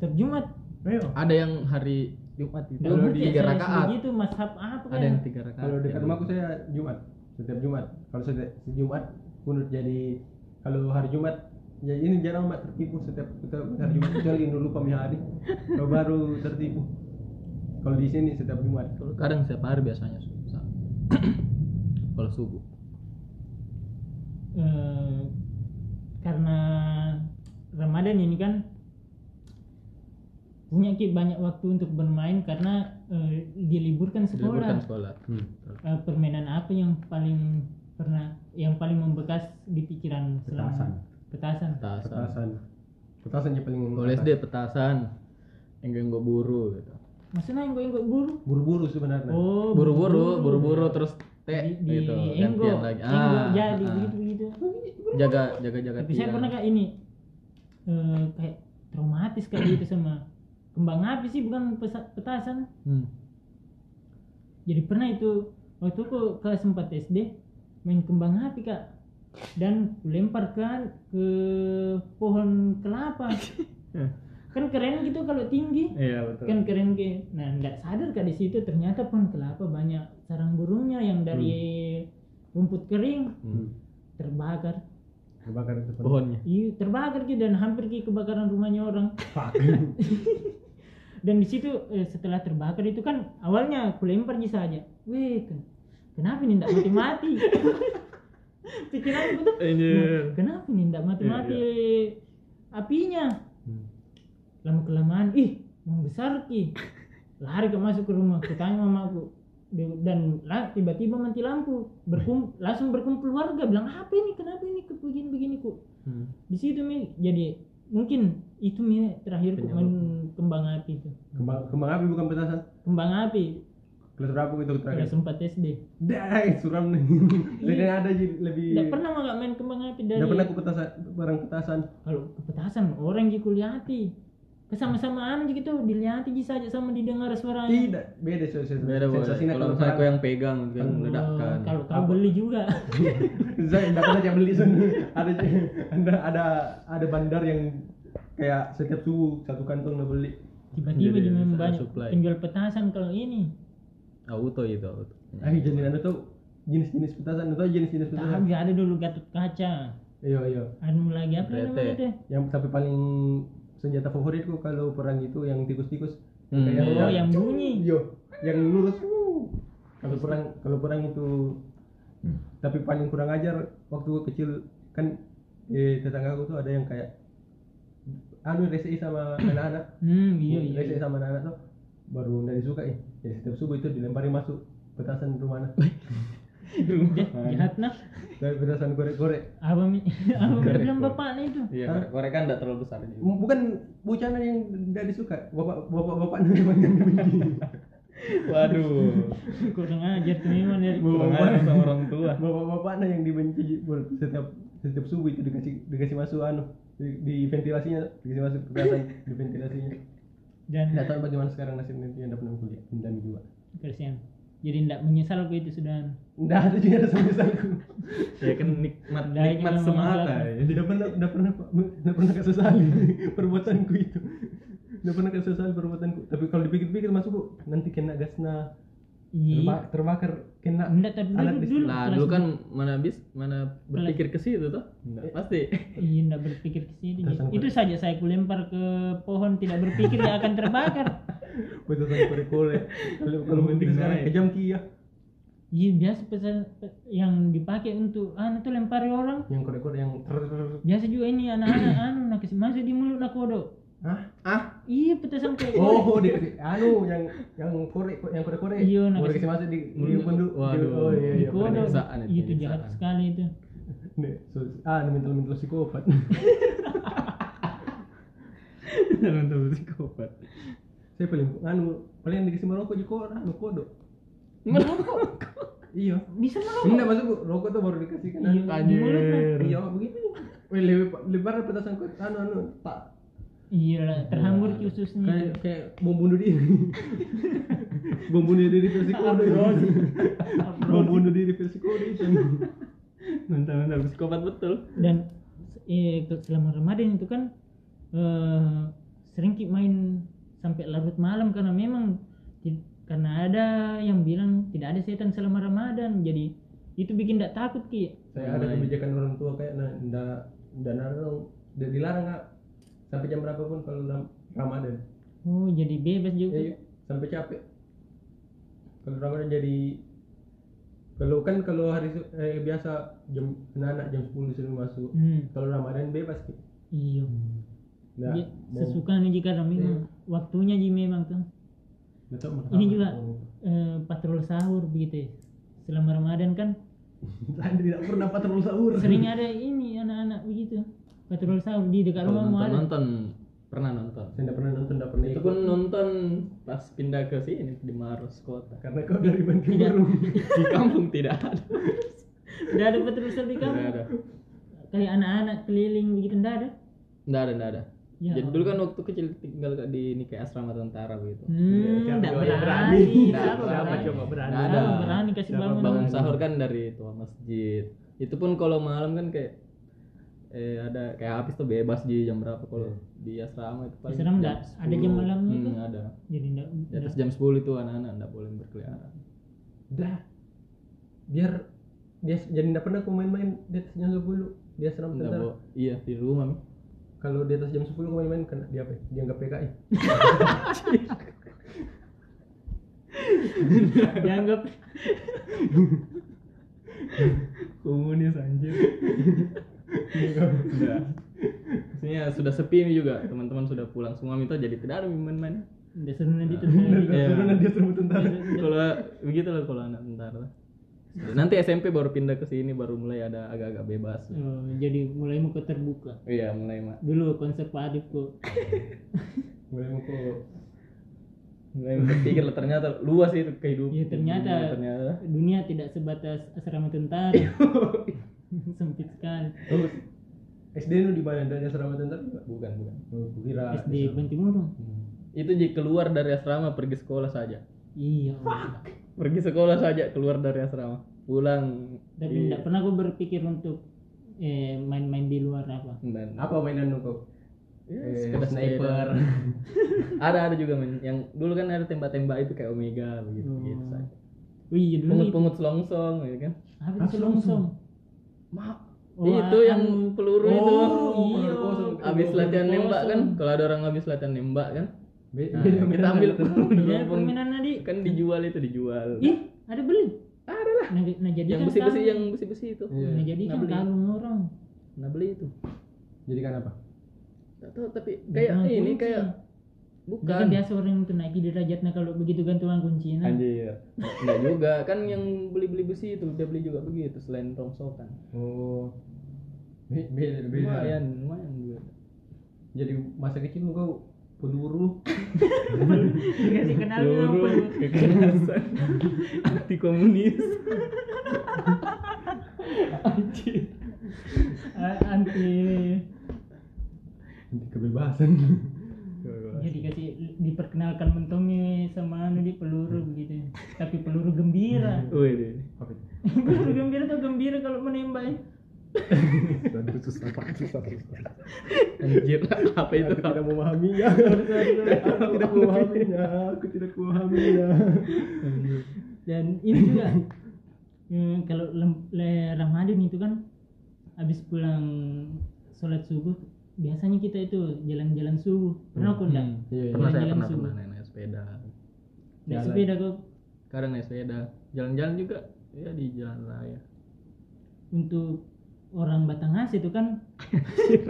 Speaker 1: setiap Jumat
Speaker 2: Ayo.
Speaker 4: Ada yang hari Jumat itu.
Speaker 1: Nggak
Speaker 4: Ada
Speaker 1: ngerti
Speaker 4: tiga
Speaker 1: saya
Speaker 4: rakaat.
Speaker 1: begitu mashab apa
Speaker 4: Ada
Speaker 1: kan
Speaker 4: yang tiga rakaat.
Speaker 2: Kalau dekat rumahku saya Jumat. Setiap Jumat. Kalau setiap Jumat kunut jadi kalau hari Jumat ya ini jarang mak tertipu setiap kita hari Jumat kecuali Indo lupa punya hari kalau baru tertipu kalau di sini setiap Jumat
Speaker 4: Kalau kadang setiap hari biasanya susah. Kalau subuh.
Speaker 1: eh, karena Ramadan ini kan punya Ki banyak waktu untuk bermain karena eh, diliburkan
Speaker 4: Diliburkan
Speaker 1: sekolah.
Speaker 4: sekolah.
Speaker 1: Eh, permainan apa yang paling pernah yang paling membekas di pikiran selama
Speaker 2: Petasan.
Speaker 1: petasan?
Speaker 4: Petasan.
Speaker 2: petasan petasan yang paling
Speaker 4: Kalau SD petasan. Enggak enggak buru gitu.
Speaker 1: Maksudnya yang gue buru?
Speaker 2: buru-buru sebenarnya
Speaker 1: Oh,
Speaker 4: Nah, Buru-buru, buru-buru terus
Speaker 1: di,
Speaker 4: teh
Speaker 1: di
Speaker 4: gitu.
Speaker 1: enggok,
Speaker 4: Gantian lagi.
Speaker 1: enggok
Speaker 4: Ah,
Speaker 1: jadi
Speaker 4: ah.
Speaker 1: begitu begitu.
Speaker 4: Jaga jaga jaga
Speaker 1: tapi saya
Speaker 4: tiang.
Speaker 1: pernah kayak ini eh, kayak traumatis kali itu sama kembang api sih bukan pesa- petasan
Speaker 4: Hmm.
Speaker 1: jadi pernah itu waktu aku kelas 4 SD main kembang api kak dan lemparkan ke pohon kelapa kan keren gitu kalau tinggi
Speaker 4: Iya betul.
Speaker 1: kan keren ke nah nggak sadar kak di situ ternyata pohon kelapa banyak sarang burungnya yang dari rumput kering
Speaker 4: Hmm.
Speaker 1: terbakar
Speaker 2: terbakar itu
Speaker 4: Pohonnya.
Speaker 1: Iya, terbakar gitu dan hampir ki kebakaran rumahnya orang.
Speaker 2: Fuck.
Speaker 1: Dan di situ eh, setelah terbakar itu kan awalnya aku lempar gitu saja. Wih, ken- kenapa ini tidak mati-mati? Pikiranku tuh,
Speaker 4: Iya.
Speaker 1: "Nah, kenapa ini tidak mati-mati apinya?
Speaker 4: Hmm.
Speaker 1: Lama kelamaan, ih, membesar ki. Lari ke masuk ke rumah, aku tanya mamaku. Di- Dan la- tiba-tiba mati lampu. Berkum, langsung berkumpul warga bilang, "Apa ini? Kenapa ini Kok begini-begini kok?"
Speaker 4: Hmm.
Speaker 1: di situ mi jadi mungkin itu mi terakhir ku
Speaker 4: Penyebab.
Speaker 1: main kembang api itu
Speaker 2: kembang kembang api bukan petasan
Speaker 1: kembang api
Speaker 2: kelas berapa gitu
Speaker 1: kelas
Speaker 2: terakhir
Speaker 1: sempat SD
Speaker 2: Dai, suram nih. Jadi ada aja lebih.
Speaker 4: Iya.
Speaker 1: tidak pernah Iya. nggak main kembang api dari
Speaker 2: Nggak pernah aku petasan, barang petasan.
Speaker 1: kalau kepetasan orang jiku lihati kesama-samaan aja gitu dilihati ji saja sama didengar suaranya
Speaker 2: Tidak, beda sensasi.
Speaker 4: Beda boleh.
Speaker 2: Sensasinya
Speaker 4: Kalau
Speaker 2: kalau
Speaker 4: misalnya kau
Speaker 2: perang.
Speaker 4: yang pegang kan
Speaker 1: Oh,
Speaker 4: meledakkan.
Speaker 1: kalau kau beli juga
Speaker 2: Zai, nggak pernah yang beli Sun. Ada ada ada ada bandar yang kayak setiap subuh satu kantong nggak beli.
Speaker 1: tiba-tiba
Speaker 4: Jadi,
Speaker 1: jadi memang
Speaker 4: ada
Speaker 1: banyak
Speaker 4: supply.
Speaker 1: penjual petasan kalau ini
Speaker 4: Auto itu auto.
Speaker 2: Eh, jadi anda tuh jenis-jenis petasan atau jenis-jenis petasan?
Speaker 1: tapi ada dulu gatot kaca
Speaker 2: Iya iya.
Speaker 1: ada lagi apa
Speaker 4: Berete.
Speaker 1: namanya itu
Speaker 2: Yang tapi paling senjata favoritku kalau perang itu yang tikus-tikus.
Speaker 4: Hmm.
Speaker 2: Kayak
Speaker 1: oh yang bunyi
Speaker 2: Yo, yang lurus. Kalau perang, kalau perang itu.
Speaker 1: Hmm.
Speaker 2: Tapi paling kurang ajar waktu gua kecil kan di tetangga aku tuh ada yang kayak anu resi sama anak-anak.
Speaker 1: hmm iya iya
Speaker 2: Resi sama anak-anak tuh baru dari suka ya. Jadi setiap subuh itu dilempari masuk petasan rumah anak.
Speaker 1: Jah-
Speaker 4: Iya, kan?
Speaker 1: jahat nah
Speaker 2: Dari petasan gorek-gorek.
Speaker 1: apa mi apa mi
Speaker 4: Keren,
Speaker 1: bilang
Speaker 4: keren.
Speaker 1: bapaknya itu
Speaker 4: Iya,
Speaker 2: Hah?
Speaker 4: korek- korek kan enggak terlalu besar juga.
Speaker 2: Bukan bucana yang dari suka. Bapak bapak bapak namanya.
Speaker 4: Waduh.
Speaker 1: kurang ajar tuh memang dari
Speaker 4: Kurang ajar sama orang tua.
Speaker 2: bapak-bapaknya yang dibenci Bul. setiap setiap subuh itu dikasih dikasih masuk anu di, di ventilasinya dikasih masuk petasan di ventilasinya
Speaker 1: dan
Speaker 2: nggak tahu bagaimana sekarang nasib nanti yang dapat kuliah dendam juga
Speaker 1: kasihan jadi tidak menyesal gue itu sudah
Speaker 2: nggak ada juga rasa misalku
Speaker 4: Ya kan nikmat
Speaker 1: Nah,
Speaker 4: nikmat
Speaker 1: ini memang
Speaker 4: semata.
Speaker 2: Eh,
Speaker 1: belakang.
Speaker 4: ya.
Speaker 2: tidak pernah tidak pernah tidak pernah kesesali perbuatanku itu tidak pernah kesesali perbuatanku tapi kalau dipikir-pikir masukku nanti kena gasna
Speaker 1: iya
Speaker 2: terba- terbakar kena
Speaker 1: Enggak, tapi dulu-
Speaker 2: alat listrik.
Speaker 1: dulu.
Speaker 4: Nah,
Speaker 1: Kelas
Speaker 4: dulu kan mana bis mana berpikir ke situ tuh?
Speaker 2: Nggak.
Speaker 4: Pasti.
Speaker 1: iya tidak berpikir ke sini
Speaker 2: Terus yang
Speaker 1: itu saja saya kulempar ke pohon tidak berpikir yang akan terbakar
Speaker 2: petasan korek-korek kalau kalau penting sekarang kejam ya. kia
Speaker 1: iya biasa pesan pe- yang dipakai untuk anu tuh lempari orang
Speaker 2: yang korek-korek yang ter-
Speaker 1: biasa juga ini anak-anak anu nak kasih masuk di mulut nak kodok
Speaker 2: Hah?
Speaker 4: Ah,
Speaker 1: iya petasan kayak
Speaker 2: Oh, di, di- anu yang yang korek yang korek korek.
Speaker 1: Iya, nah,
Speaker 2: Baru
Speaker 1: kasih-
Speaker 2: kasih masuk di di
Speaker 4: Mulut.
Speaker 2: punduk.
Speaker 4: Waduh.
Speaker 2: Oh iya
Speaker 1: di
Speaker 2: iya.
Speaker 1: kodok
Speaker 2: pernah.
Speaker 4: penyiksaan itu,
Speaker 1: itu jahat
Speaker 4: penyiksaan.
Speaker 1: sekali itu
Speaker 2: Nih, so- ah, mental mental psikopat.
Speaker 4: nonton psikopat.
Speaker 2: Saya paling anu paling yang dikasih merokok juga orang anu kodok. Iya.
Speaker 1: bisa merokok
Speaker 2: Enggak masuk Bu. rokok tuh baru dikasih kan.
Speaker 1: Iya, di mulut kan.
Speaker 4: Anjir.
Speaker 2: Iya, begitu. Weh, lebar lebar petasan korek anu anu tak
Speaker 1: iya lah, terhambur khususnya
Speaker 2: kayak kayak bom bunuh diri. bom bunuh diri versi
Speaker 1: Anu,
Speaker 2: kodok. Bom bunuh diri versi kodok itu.
Speaker 4: Nonton-nonton psikopat betul.
Speaker 1: dan eh, ke- selama Ramadan itu kan eh, sering ki main sampai larut malam karena memang ti- karena ada yang bilang tidak ada setan selama Ramadan jadi itu bikin tidak takut ki
Speaker 2: saya ada
Speaker 4: Main.
Speaker 2: kebijakan orang tua kayak nah ndak ndak narang Dia dilarang kak sampai jam berapa pun kalau dalam Ramadan.
Speaker 1: Oh, jadi bebas
Speaker 2: Ya,
Speaker 1: juga.
Speaker 2: yuk. sampai capek. Kalau Ramadan jadi kalau kan kalau hari Su- eh, biasa jam anak jam 10 sudah masuk.
Speaker 1: Hmm,
Speaker 2: Kalau Ramadan bebas Ki.
Speaker 1: iya.
Speaker 2: Nah,
Speaker 1: Dia
Speaker 2: mau-
Speaker 1: sesuka nih jika kami
Speaker 2: Iya.
Speaker 1: waktunya ji memang tuh
Speaker 2: Nggak tahu makan
Speaker 1: Ini
Speaker 2: apa.
Speaker 1: juga. eh, patrol sahur begitu ya. Selama Ramadan kan
Speaker 2: Anda tidak pernah patroli sahur.
Speaker 1: sering ada ini anak-anak begitu patrol sahur di dekat
Speaker 4: Kalau
Speaker 1: rumah
Speaker 4: nonton,
Speaker 1: ada.
Speaker 4: nonton pernah nonton.
Speaker 2: Saya tidak pernah nonton, tidak pernah
Speaker 4: Itu
Speaker 2: ikut.
Speaker 4: pun nonton pas pindah ke sini di Maros kota.
Speaker 2: karena kau dari Banting
Speaker 1: Tidak. Hmm,
Speaker 2: Baru.
Speaker 4: Di kampung tidak ada.
Speaker 1: Tidak ada patrol sahur di
Speaker 4: Tidak
Speaker 1: kamu.
Speaker 4: ada.
Speaker 1: Kayak anak-anak keliling begitu tidak ada.
Speaker 4: Tidak ada, tidak ada.
Speaker 1: Ya.
Speaker 4: Jadi dulu kan waktu kecil tinggal di ini kayak asrama tentara begitu.
Speaker 1: Hmm,
Speaker 2: Iya, Siapa
Speaker 1: tidak
Speaker 2: juga yang
Speaker 1: berani.
Speaker 4: Nggak,
Speaker 1: Siapa
Speaker 2: Siapa
Speaker 1: berani?
Speaker 2: coba berani?
Speaker 4: Nggak
Speaker 1: Siapa
Speaker 4: ada.
Speaker 1: berani kasih
Speaker 2: Siapa
Speaker 1: bangun.
Speaker 4: Bangun
Speaker 2: Nah.
Speaker 4: sahur kan dari tua masjid. Itu pun kalau malam kan kayak eh ada kayak habis tuh bebas di jam berapa kalau di asrama itu paling
Speaker 1: Ya. Asrama nggak ada jam
Speaker 4: 10.
Speaker 1: malamnya
Speaker 4: Hmm,
Speaker 1: tuh?
Speaker 4: ada.
Speaker 1: Jadi tidak.
Speaker 4: Di atas jam 10 itu anak-anak enggak boleh berkeliaran.
Speaker 2: Dah. Biar dia jadi tidak pernah kau main-main di atas jam 10 dia seram
Speaker 4: Enggak
Speaker 2: tentara.
Speaker 4: boleh. Iya, di rumah. Mi.
Speaker 2: Kalau di atas jam 10 kau main-main kena dia apa? Dianggap PKI.
Speaker 1: dianggap
Speaker 4: Komunis anjir. Iya. Udah. Maksudnya sudah sepi ini juga, teman-teman sudah pulang semua minta jadi tidak ada main-main.
Speaker 1: tidak seru nanti tuh.
Speaker 2: Benar, karena dia serem tentara.
Speaker 4: Kalau begitu lah kalau anak tentara. Nanti SMP baru pindah ke sini baru mulai ada agak-agak bebas.
Speaker 1: Oh, jadi mulai muka terbuka.
Speaker 4: Iya, mulai ma-
Speaker 1: Dulu konservatif kok.
Speaker 2: Mulai mau kau-
Speaker 4: mulai berpikir lah ternyata luas itu kehidupan.
Speaker 1: Iya, ternyata.
Speaker 4: Iya, ternyata.
Speaker 1: Dunia tidak sebatas asrama tentara. Sempit sekali.
Speaker 2: Oh, SD lu di mana? Dari asrama tentara juga?
Speaker 4: Bukan, bukan.
Speaker 2: Oh, kukira
Speaker 1: SD Bantimurung.
Speaker 4: Itu jadi keluar dari asrama pergi sekolah saja.
Speaker 1: Iya.
Speaker 4: Pergi sekolah saja keluar dari asrama. Pulang Iya.
Speaker 1: Tapi
Speaker 4: di-
Speaker 1: tidak pernah gue berpikir untuk eh, main-main di luar apa.
Speaker 4: dan
Speaker 2: Apa mainan lu kau?
Speaker 4: Eh,
Speaker 2: Eh, sniper.
Speaker 4: ada ada juga men yang dulu kan ada tembak-tembak itu kayak omega begitu gitu
Speaker 1: Oh.
Speaker 4: saja
Speaker 1: Oh iya dulu itu.
Speaker 4: pungut-pungut selongsong gitu kan
Speaker 1: Apa
Speaker 2: Apa
Speaker 1: itu selongsung?
Speaker 4: Ma,
Speaker 1: Oh,
Speaker 4: itu yang peluru itu
Speaker 2: Oh,
Speaker 1: iya.
Speaker 2: peluru kosong.
Speaker 4: habis
Speaker 2: Peluru
Speaker 4: latihan
Speaker 1: kosong.
Speaker 4: nembak kan kalau ada orang habis latihan nembak kan
Speaker 2: Be-
Speaker 4: nah,
Speaker 2: beda
Speaker 4: kita
Speaker 2: mainan.
Speaker 4: ambil
Speaker 1: Iya, permainan tadi.
Speaker 4: kan dijual itu dijual
Speaker 1: Ih, ada beli. Ada lah. Nah, nah jadi
Speaker 4: yang
Speaker 1: kan
Speaker 4: besi-besi
Speaker 1: kagum.
Speaker 4: yang besi-besi itu
Speaker 2: Iya.
Speaker 1: Nah jadi
Speaker 4: Nah,
Speaker 1: kan
Speaker 4: beli.
Speaker 1: kagum orang.
Speaker 4: nah beli itu
Speaker 2: Jadi kan apa?
Speaker 4: Gak tahu tapi kayak
Speaker 1: Gantungan
Speaker 4: ini
Speaker 1: kunci.
Speaker 4: kayak
Speaker 1: Dia kan
Speaker 4: bukan
Speaker 1: biasa orang itu naiki derajat nah kalau begitu gantungan kunci nah.
Speaker 4: anjir enggak juga kan yang beli-beli besi itu dia beli juga begitu selain kan? rongsokan
Speaker 2: Oh. Be- Beda beda. ya.
Speaker 4: lumayan lumayan juga
Speaker 2: Jadi masa kecil lu kau peluru
Speaker 1: Dikasih kenal bilang
Speaker 4: Peluru,
Speaker 1: peluru.
Speaker 4: kekerasan anti komunis
Speaker 1: Ah, anti
Speaker 2: Di kebebasan.
Speaker 1: jadi kasih Iya, diperkenalkan mentongnya sama anu di peluru begitu. Tapi peluru gembira.
Speaker 4: Wih, deh.
Speaker 2: Apa itu?
Speaker 1: peluru gembira tuh gembira kalau menembak. ya.
Speaker 2: Aduh, susah banget, susah susah.
Speaker 4: anjir apa itu
Speaker 2: Aku tidak memahaminya. Aku tidak memahaminya. Aku tidak memahaminya.
Speaker 1: Dan ini juga eh, kalau lem- le- Ramadan itu kan habis pulang sholat subuh biasanya kita itu jalan-jalan subuh. Pernah kok enggak?
Speaker 2: Iya, iya.
Speaker 4: pernah saya
Speaker 1: Jalan-jalan
Speaker 4: pernah
Speaker 1: subuh.
Speaker 4: pernah naik, naik sepeda
Speaker 1: Naik
Speaker 2: Jalan.
Speaker 1: sepeda kok
Speaker 4: kadang naik sepeda jalan-jalan juga ya di jalan raya
Speaker 1: untuk orang Batangas itu kan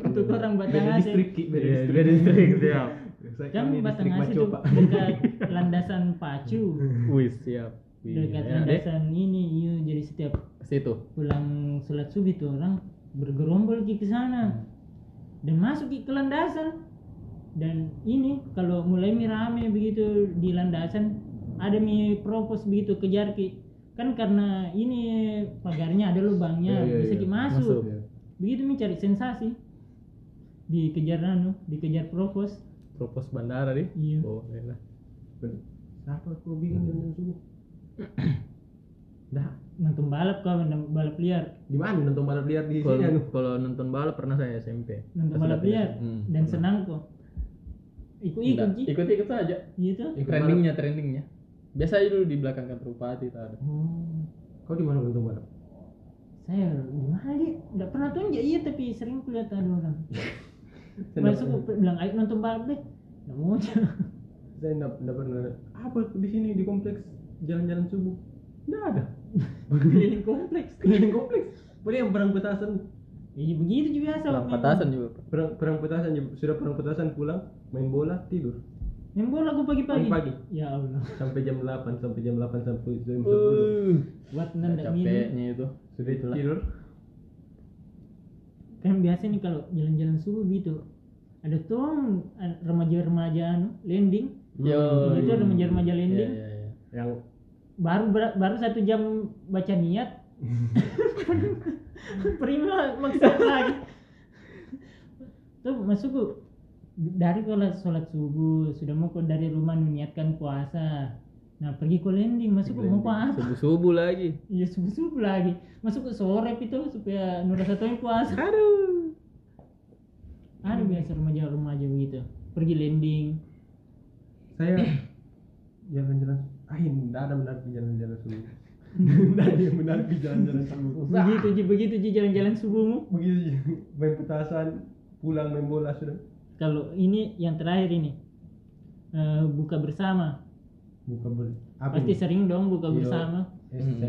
Speaker 1: untuk orang
Speaker 2: Beda
Speaker 1: Batangas
Speaker 2: distrik, Ki. beda
Speaker 4: Iya,
Speaker 2: distrik.
Speaker 4: beda distrik, siap.
Speaker 2: Saya
Speaker 1: kan
Speaker 2: ini distrik
Speaker 1: Batangas itu
Speaker 2: Macopa.
Speaker 1: dekat landasan pacu
Speaker 4: wih siap
Speaker 2: Iya,
Speaker 4: Wih,
Speaker 1: dekat
Speaker 4: ya, deh
Speaker 1: landasan ini iya. jadi setiap
Speaker 4: ke situ
Speaker 1: pulang sholat subuh itu orang bergerombol Ki, ke sana dan masuk Ki, ke landasan dan ini kalau mulai mi rame begitu di landasan ada mi propos begitu kejar ki kan karena ini pagarnya ada lubangnya
Speaker 2: Iya, iya,
Speaker 1: bisa
Speaker 2: iya.
Speaker 1: ki masuk.
Speaker 2: Iya.
Speaker 1: begitu mi cari sensasi dikejar anu dikejar propos
Speaker 4: propos bandara Oh, deh
Speaker 1: iya
Speaker 4: boleh lah
Speaker 2: Kenapa kau bikin nonton subuh? Dah,
Speaker 1: nonton balap kau nonton balap liar
Speaker 2: di mana nonton balap liar di sini
Speaker 4: kalau
Speaker 2: anu?
Speaker 4: kalau nonton balap pernah saya SMP
Speaker 1: nonton
Speaker 4: Pas
Speaker 1: balap
Speaker 4: latihan.
Speaker 1: liar
Speaker 4: Hmm,
Speaker 1: dan
Speaker 4: pernah.
Speaker 1: senang kok ikut ikut
Speaker 4: Enggak,
Speaker 1: ji
Speaker 4: ikut-ikut saja
Speaker 1: gitu
Speaker 2: Ikut
Speaker 4: trendingnya trendingnya biasa aja dulu di belakang kantor bupati tak ada
Speaker 1: oh
Speaker 2: balap. Kau di mana nonton balap?
Speaker 1: saya gimana dia nggak pernah tunjuk iya tapi sering kulihat ada orang
Speaker 2: Saya
Speaker 1: Masuk
Speaker 2: nggak-
Speaker 1: bilang ayo nonton balap deh. Namun
Speaker 2: saya nggak nggak pernah apa di sini di kompleks jalan-jalan subuh nggak ada
Speaker 1: keliling kompleks.
Speaker 2: keliling kompleks boleh yang perang petasan
Speaker 1: Iya begitu juga biasa.
Speaker 4: Perang
Speaker 1: main-
Speaker 4: petasan juga.
Speaker 2: perang, perang petasan ya. sudah perang petasan pulang main bola tidur
Speaker 1: Main bola gua pagi-pagi.
Speaker 2: Pagi-pagi.
Speaker 1: Ya Allah.
Speaker 2: sampai jam 8 sampai jam 8 sampai jam 10
Speaker 4: Uh,
Speaker 1: Buat nendak minum.
Speaker 4: capeknya itu.
Speaker 2: sudah Hmm.
Speaker 4: Itulah.
Speaker 2: tidur
Speaker 1: Kan biasa nih kalau jalan-jalan subuh gitu. Ada tuh an- remaja-remaja anu, landing.
Speaker 4: Yo.
Speaker 1: Itu ada remaja-remaja landing.
Speaker 4: Iya, iya, iya.
Speaker 2: yang
Speaker 1: Baru ber- baru satu jam baca niat. Prima maksa lagi. Tuh masukku dari kalau sholat subuh sudah mau kau dari rumah niatkan puasa. Nah pergi ke landing masukku mau puasa.
Speaker 4: Subuh-subuh lagi.
Speaker 1: Iya subuh-subuh lagi. Masuk ke sore itu supaya Nur Satomi puasa.
Speaker 4: Aduh.
Speaker 1: Ada biasa remaja-remaja begitu. gitu. Pergi landing.
Speaker 2: saya jalan-jalan ah ini nggak ada menarik di jalan-jalan subuh nggak ada yang menarik di jalan-jalan subuh
Speaker 1: Begitu Ji, begitu Ji jalan-jalan subuhmu.
Speaker 2: begitu main petasan pulang main bola sudah
Speaker 1: Kalau ini yang terakhir ini. Eh, buka bersama.
Speaker 2: buka bola apa
Speaker 1: Pasti
Speaker 4: Hmm.
Speaker 2: ini?
Speaker 1: sering dong buka
Speaker 2: Iya.
Speaker 1: bersama.
Speaker 2: SMP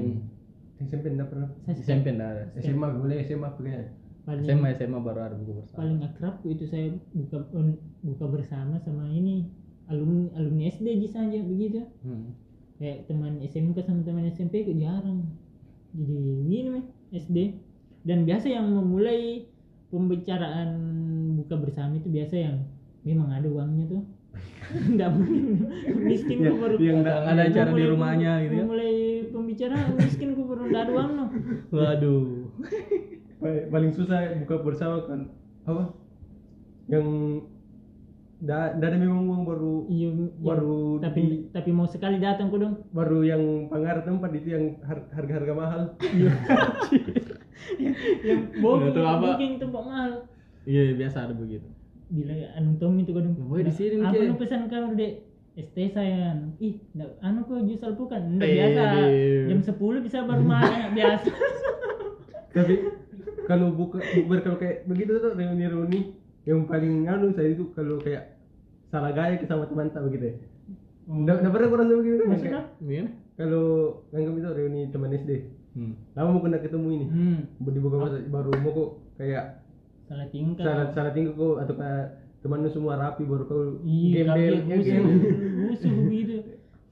Speaker 2: SMP nggak pernah
Speaker 1: Saya
Speaker 4: SMP nggak ada.
Speaker 2: SMA boleh SMA kayaknya
Speaker 1: paling
Speaker 4: SMA SMA baru ada buku bersama.
Speaker 1: paling akrab itu saya buka on- buka bersama sama ini alumni alumni SD Ji saja begitu.
Speaker 4: Hmm.
Speaker 1: kayak teman SMK sama teman SMP kok jarang jadi gini meh SD dan biasa yang memulai pembicaraan buka bersama itu biasa yang memang ada uangnya tuh nggak mungkin miskin
Speaker 2: Ya,
Speaker 1: gua baru
Speaker 2: yang nggak
Speaker 4: Iya, ada acara di
Speaker 1: memulai-
Speaker 4: rumahnya gitu ya.
Speaker 1: memulai pembicaraan miskin gua baru nggak ada uang no
Speaker 4: Waduh.
Speaker 2: Pa- paling susah buka bersama kan apa yang da da ada memang uang baru
Speaker 1: iya iya.
Speaker 2: baru
Speaker 1: tapi
Speaker 2: di-
Speaker 1: tapi mau sekali datang kok dong
Speaker 2: baru yang pengar tempat itu yang har- harga-harga mahal
Speaker 1: yang booking
Speaker 4: Itu apa?
Speaker 1: booking tempat mahal
Speaker 4: Iya biasa ada begitu.
Speaker 1: Bila anu Tommy itu kadang.
Speaker 4: Nah, boy, di sini nih,
Speaker 1: Apa
Speaker 4: Kay.
Speaker 1: lu pesan kau dek? ST sayang. Ih, ndak- anu kau jus alpukat. Ndak
Speaker 4: Eh,
Speaker 1: biasa.
Speaker 4: deh.
Speaker 1: Jam 10 bisa baru makan biasa.
Speaker 2: tapi kalau buka bukber kalau kayak begitu tuh reuni-reuni yang paling anu saya itu kalau kayak salah gaya ke sama teman tak begitu ya
Speaker 4: Oh.
Speaker 2: nggak nggak pernah kurang sama gitu kan yang
Speaker 1: Maksudnya?
Speaker 2: kayak-
Speaker 4: Iya.
Speaker 2: kalau nganggap itu reuni teman SD
Speaker 4: Hmm.
Speaker 2: lama mau kena ketemu ini
Speaker 1: Hmm,
Speaker 2: di buka puasa baru mau kok kayak
Speaker 1: salah tingkah.
Speaker 2: salah salah tinggal kok atau kayak teman lu semua rapi baru kau
Speaker 1: Iya,
Speaker 2: gembel
Speaker 1: kaki
Speaker 2: ya,
Speaker 1: musuh,
Speaker 2: gembel.
Speaker 1: musuh begitu.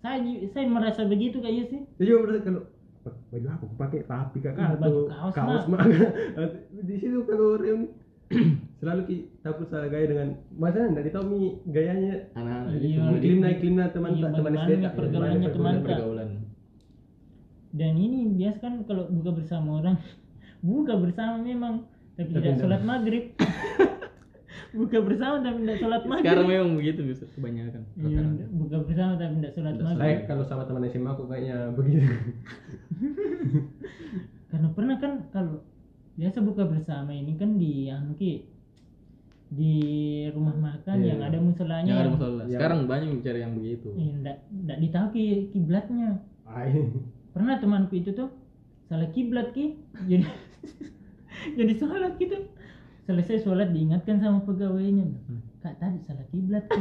Speaker 1: Saya ju- saya merasa begitu kayaknya sih.
Speaker 2: Saya juga merasa Iya, kalau "Wah, baju apa aku pakai rapi kakak
Speaker 1: Iya, baju
Speaker 2: atau
Speaker 1: kaos,
Speaker 2: kaos mah di situ kalau reuni selalu ki takut salah gaya dengan masa dari Tommy gayanya
Speaker 4: Anak-anak.
Speaker 1: Iya,
Speaker 4: Nah, semua di-
Speaker 2: iklim naik iklim naik teman
Speaker 1: Iya,
Speaker 2: tak teman
Speaker 1: bagaimana
Speaker 2: SD tak
Speaker 1: pergaulannya
Speaker 2: bagaimana
Speaker 1: teman tak?
Speaker 4: pergaulan.
Speaker 1: Dan ini biasa kan kalau buka bersama orang. Buka bersama memang tapi
Speaker 2: Tapi
Speaker 1: tidak
Speaker 2: ndak.
Speaker 1: sholat maghrib. buka bersama tapi tidak sholat maghrib.
Speaker 4: Sekarang memang begitu bisa kebanyakan.
Speaker 1: Iya, ndak- buka bersama tapi tidak sholat
Speaker 4: Ndak
Speaker 1: maghrib.
Speaker 2: saya kalau sama teman SMA aku kayaknya begitu
Speaker 1: karena pernah kan kalau biasa buka bersama ini kan di anu Ki, di rumah makan
Speaker 2: Iya,
Speaker 1: yang
Speaker 2: iya.
Speaker 1: ada musolanya
Speaker 4: Yang ada
Speaker 1: yang
Speaker 4: masalah.
Speaker 2: Iya.
Speaker 4: Sekarang banyak yang cari yang begitu.
Speaker 1: Iya, ndak ndak ditahu ki kiblatnya
Speaker 2: Ai.
Speaker 1: pernah temanku itu tuh salah kiblat ki jadi jadi sholat gitu selesai sholat diingatkan sama pegawainya
Speaker 2: Hmm.
Speaker 1: kak tadi salah kiblat ki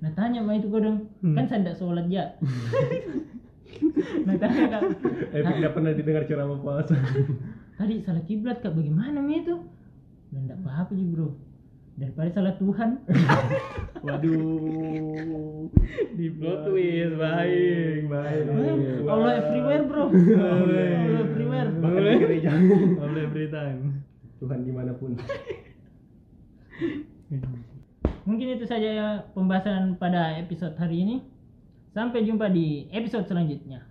Speaker 1: nah tanya mah itu kodong
Speaker 2: Hmm.
Speaker 1: kan saya ndak sholat ya nah tanya kak
Speaker 2: eh
Speaker 1: Nah.
Speaker 2: tidak pernah didengar ceramah puasa
Speaker 1: tadi salah kiblat kak bagaimana Mi itu dan tidak apa-apa sih bro daripada salah Tuhan
Speaker 2: waduh
Speaker 4: Di plot twist baik.
Speaker 2: baik
Speaker 1: Eh, Allah everywhere bro Allah everywhere
Speaker 2: bahkan di gereja
Speaker 4: Oleh Britain.
Speaker 2: Tuhan dimanapun
Speaker 1: mungkin itu saja ya pembahasan pada episode hari ini sampai jumpa di episode selanjutnya